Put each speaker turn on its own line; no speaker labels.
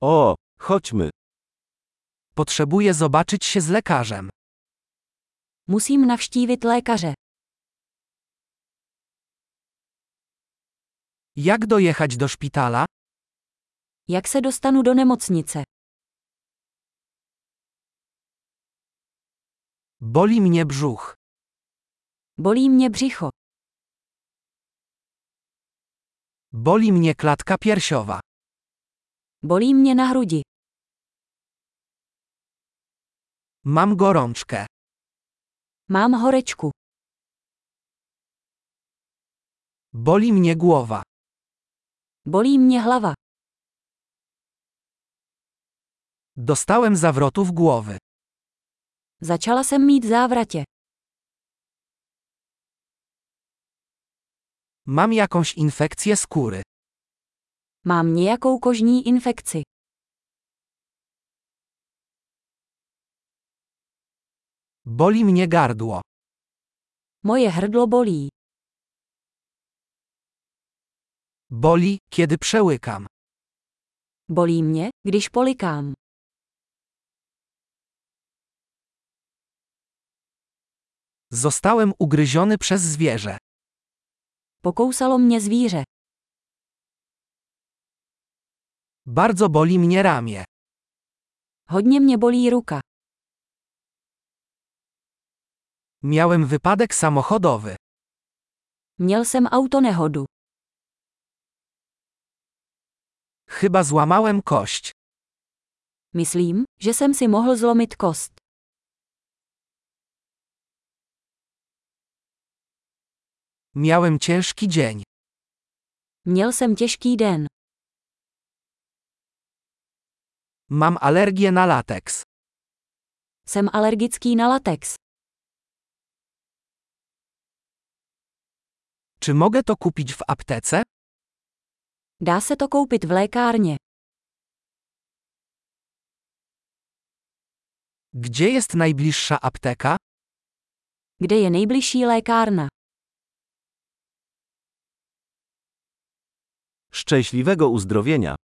O, chodźmy.
Potrzebuję zobaczyć się z lekarzem.
Musím navštívit lékaře.
Jak dojechać do szpitala?
Jak se dostanu do nemocnice?
Boli mnie brzuch.
Bolí mě břicho.
Boli mnie klatka piersiowa.
Bolí mě na hrudi.
Mam gorączkę.
Mám horečku.
Boli mnie głowa.
Bolí mě hlava.
Dostałem zawrotów głowy.
Začala jsem mít závratě.
Mam jakąś infekcję skóry.
Mám nějakou kožní infekci.
Boli mnie gardło.
Moje hrdlo bolí.
Boli, kiedy przełykam.
Bolí mě, když polikám.
Zostałem ugryziony przez zwierzę.
Pokousalo mě zvíře.
Bardzo boli mnie ramię.
Hodně mě bolí ruka.
Miałem wypadek samochodowy.
Měl jsem autonehodu.
Chyba złamałem kość.
Myslím, že jsem si mohl zlomit kost.
Miałem ciężki dzień.
Měl jsem těžký den.
Mam alergię na lateks.
Jsem alergický na latex.
Czy mogę to kupić w aptece?
Dá se to koupit v lékárně.
Gdzie jest najbliższa apteka?
Kde je nejbližší lékárna?
Szczęśliwego uzdrowienia.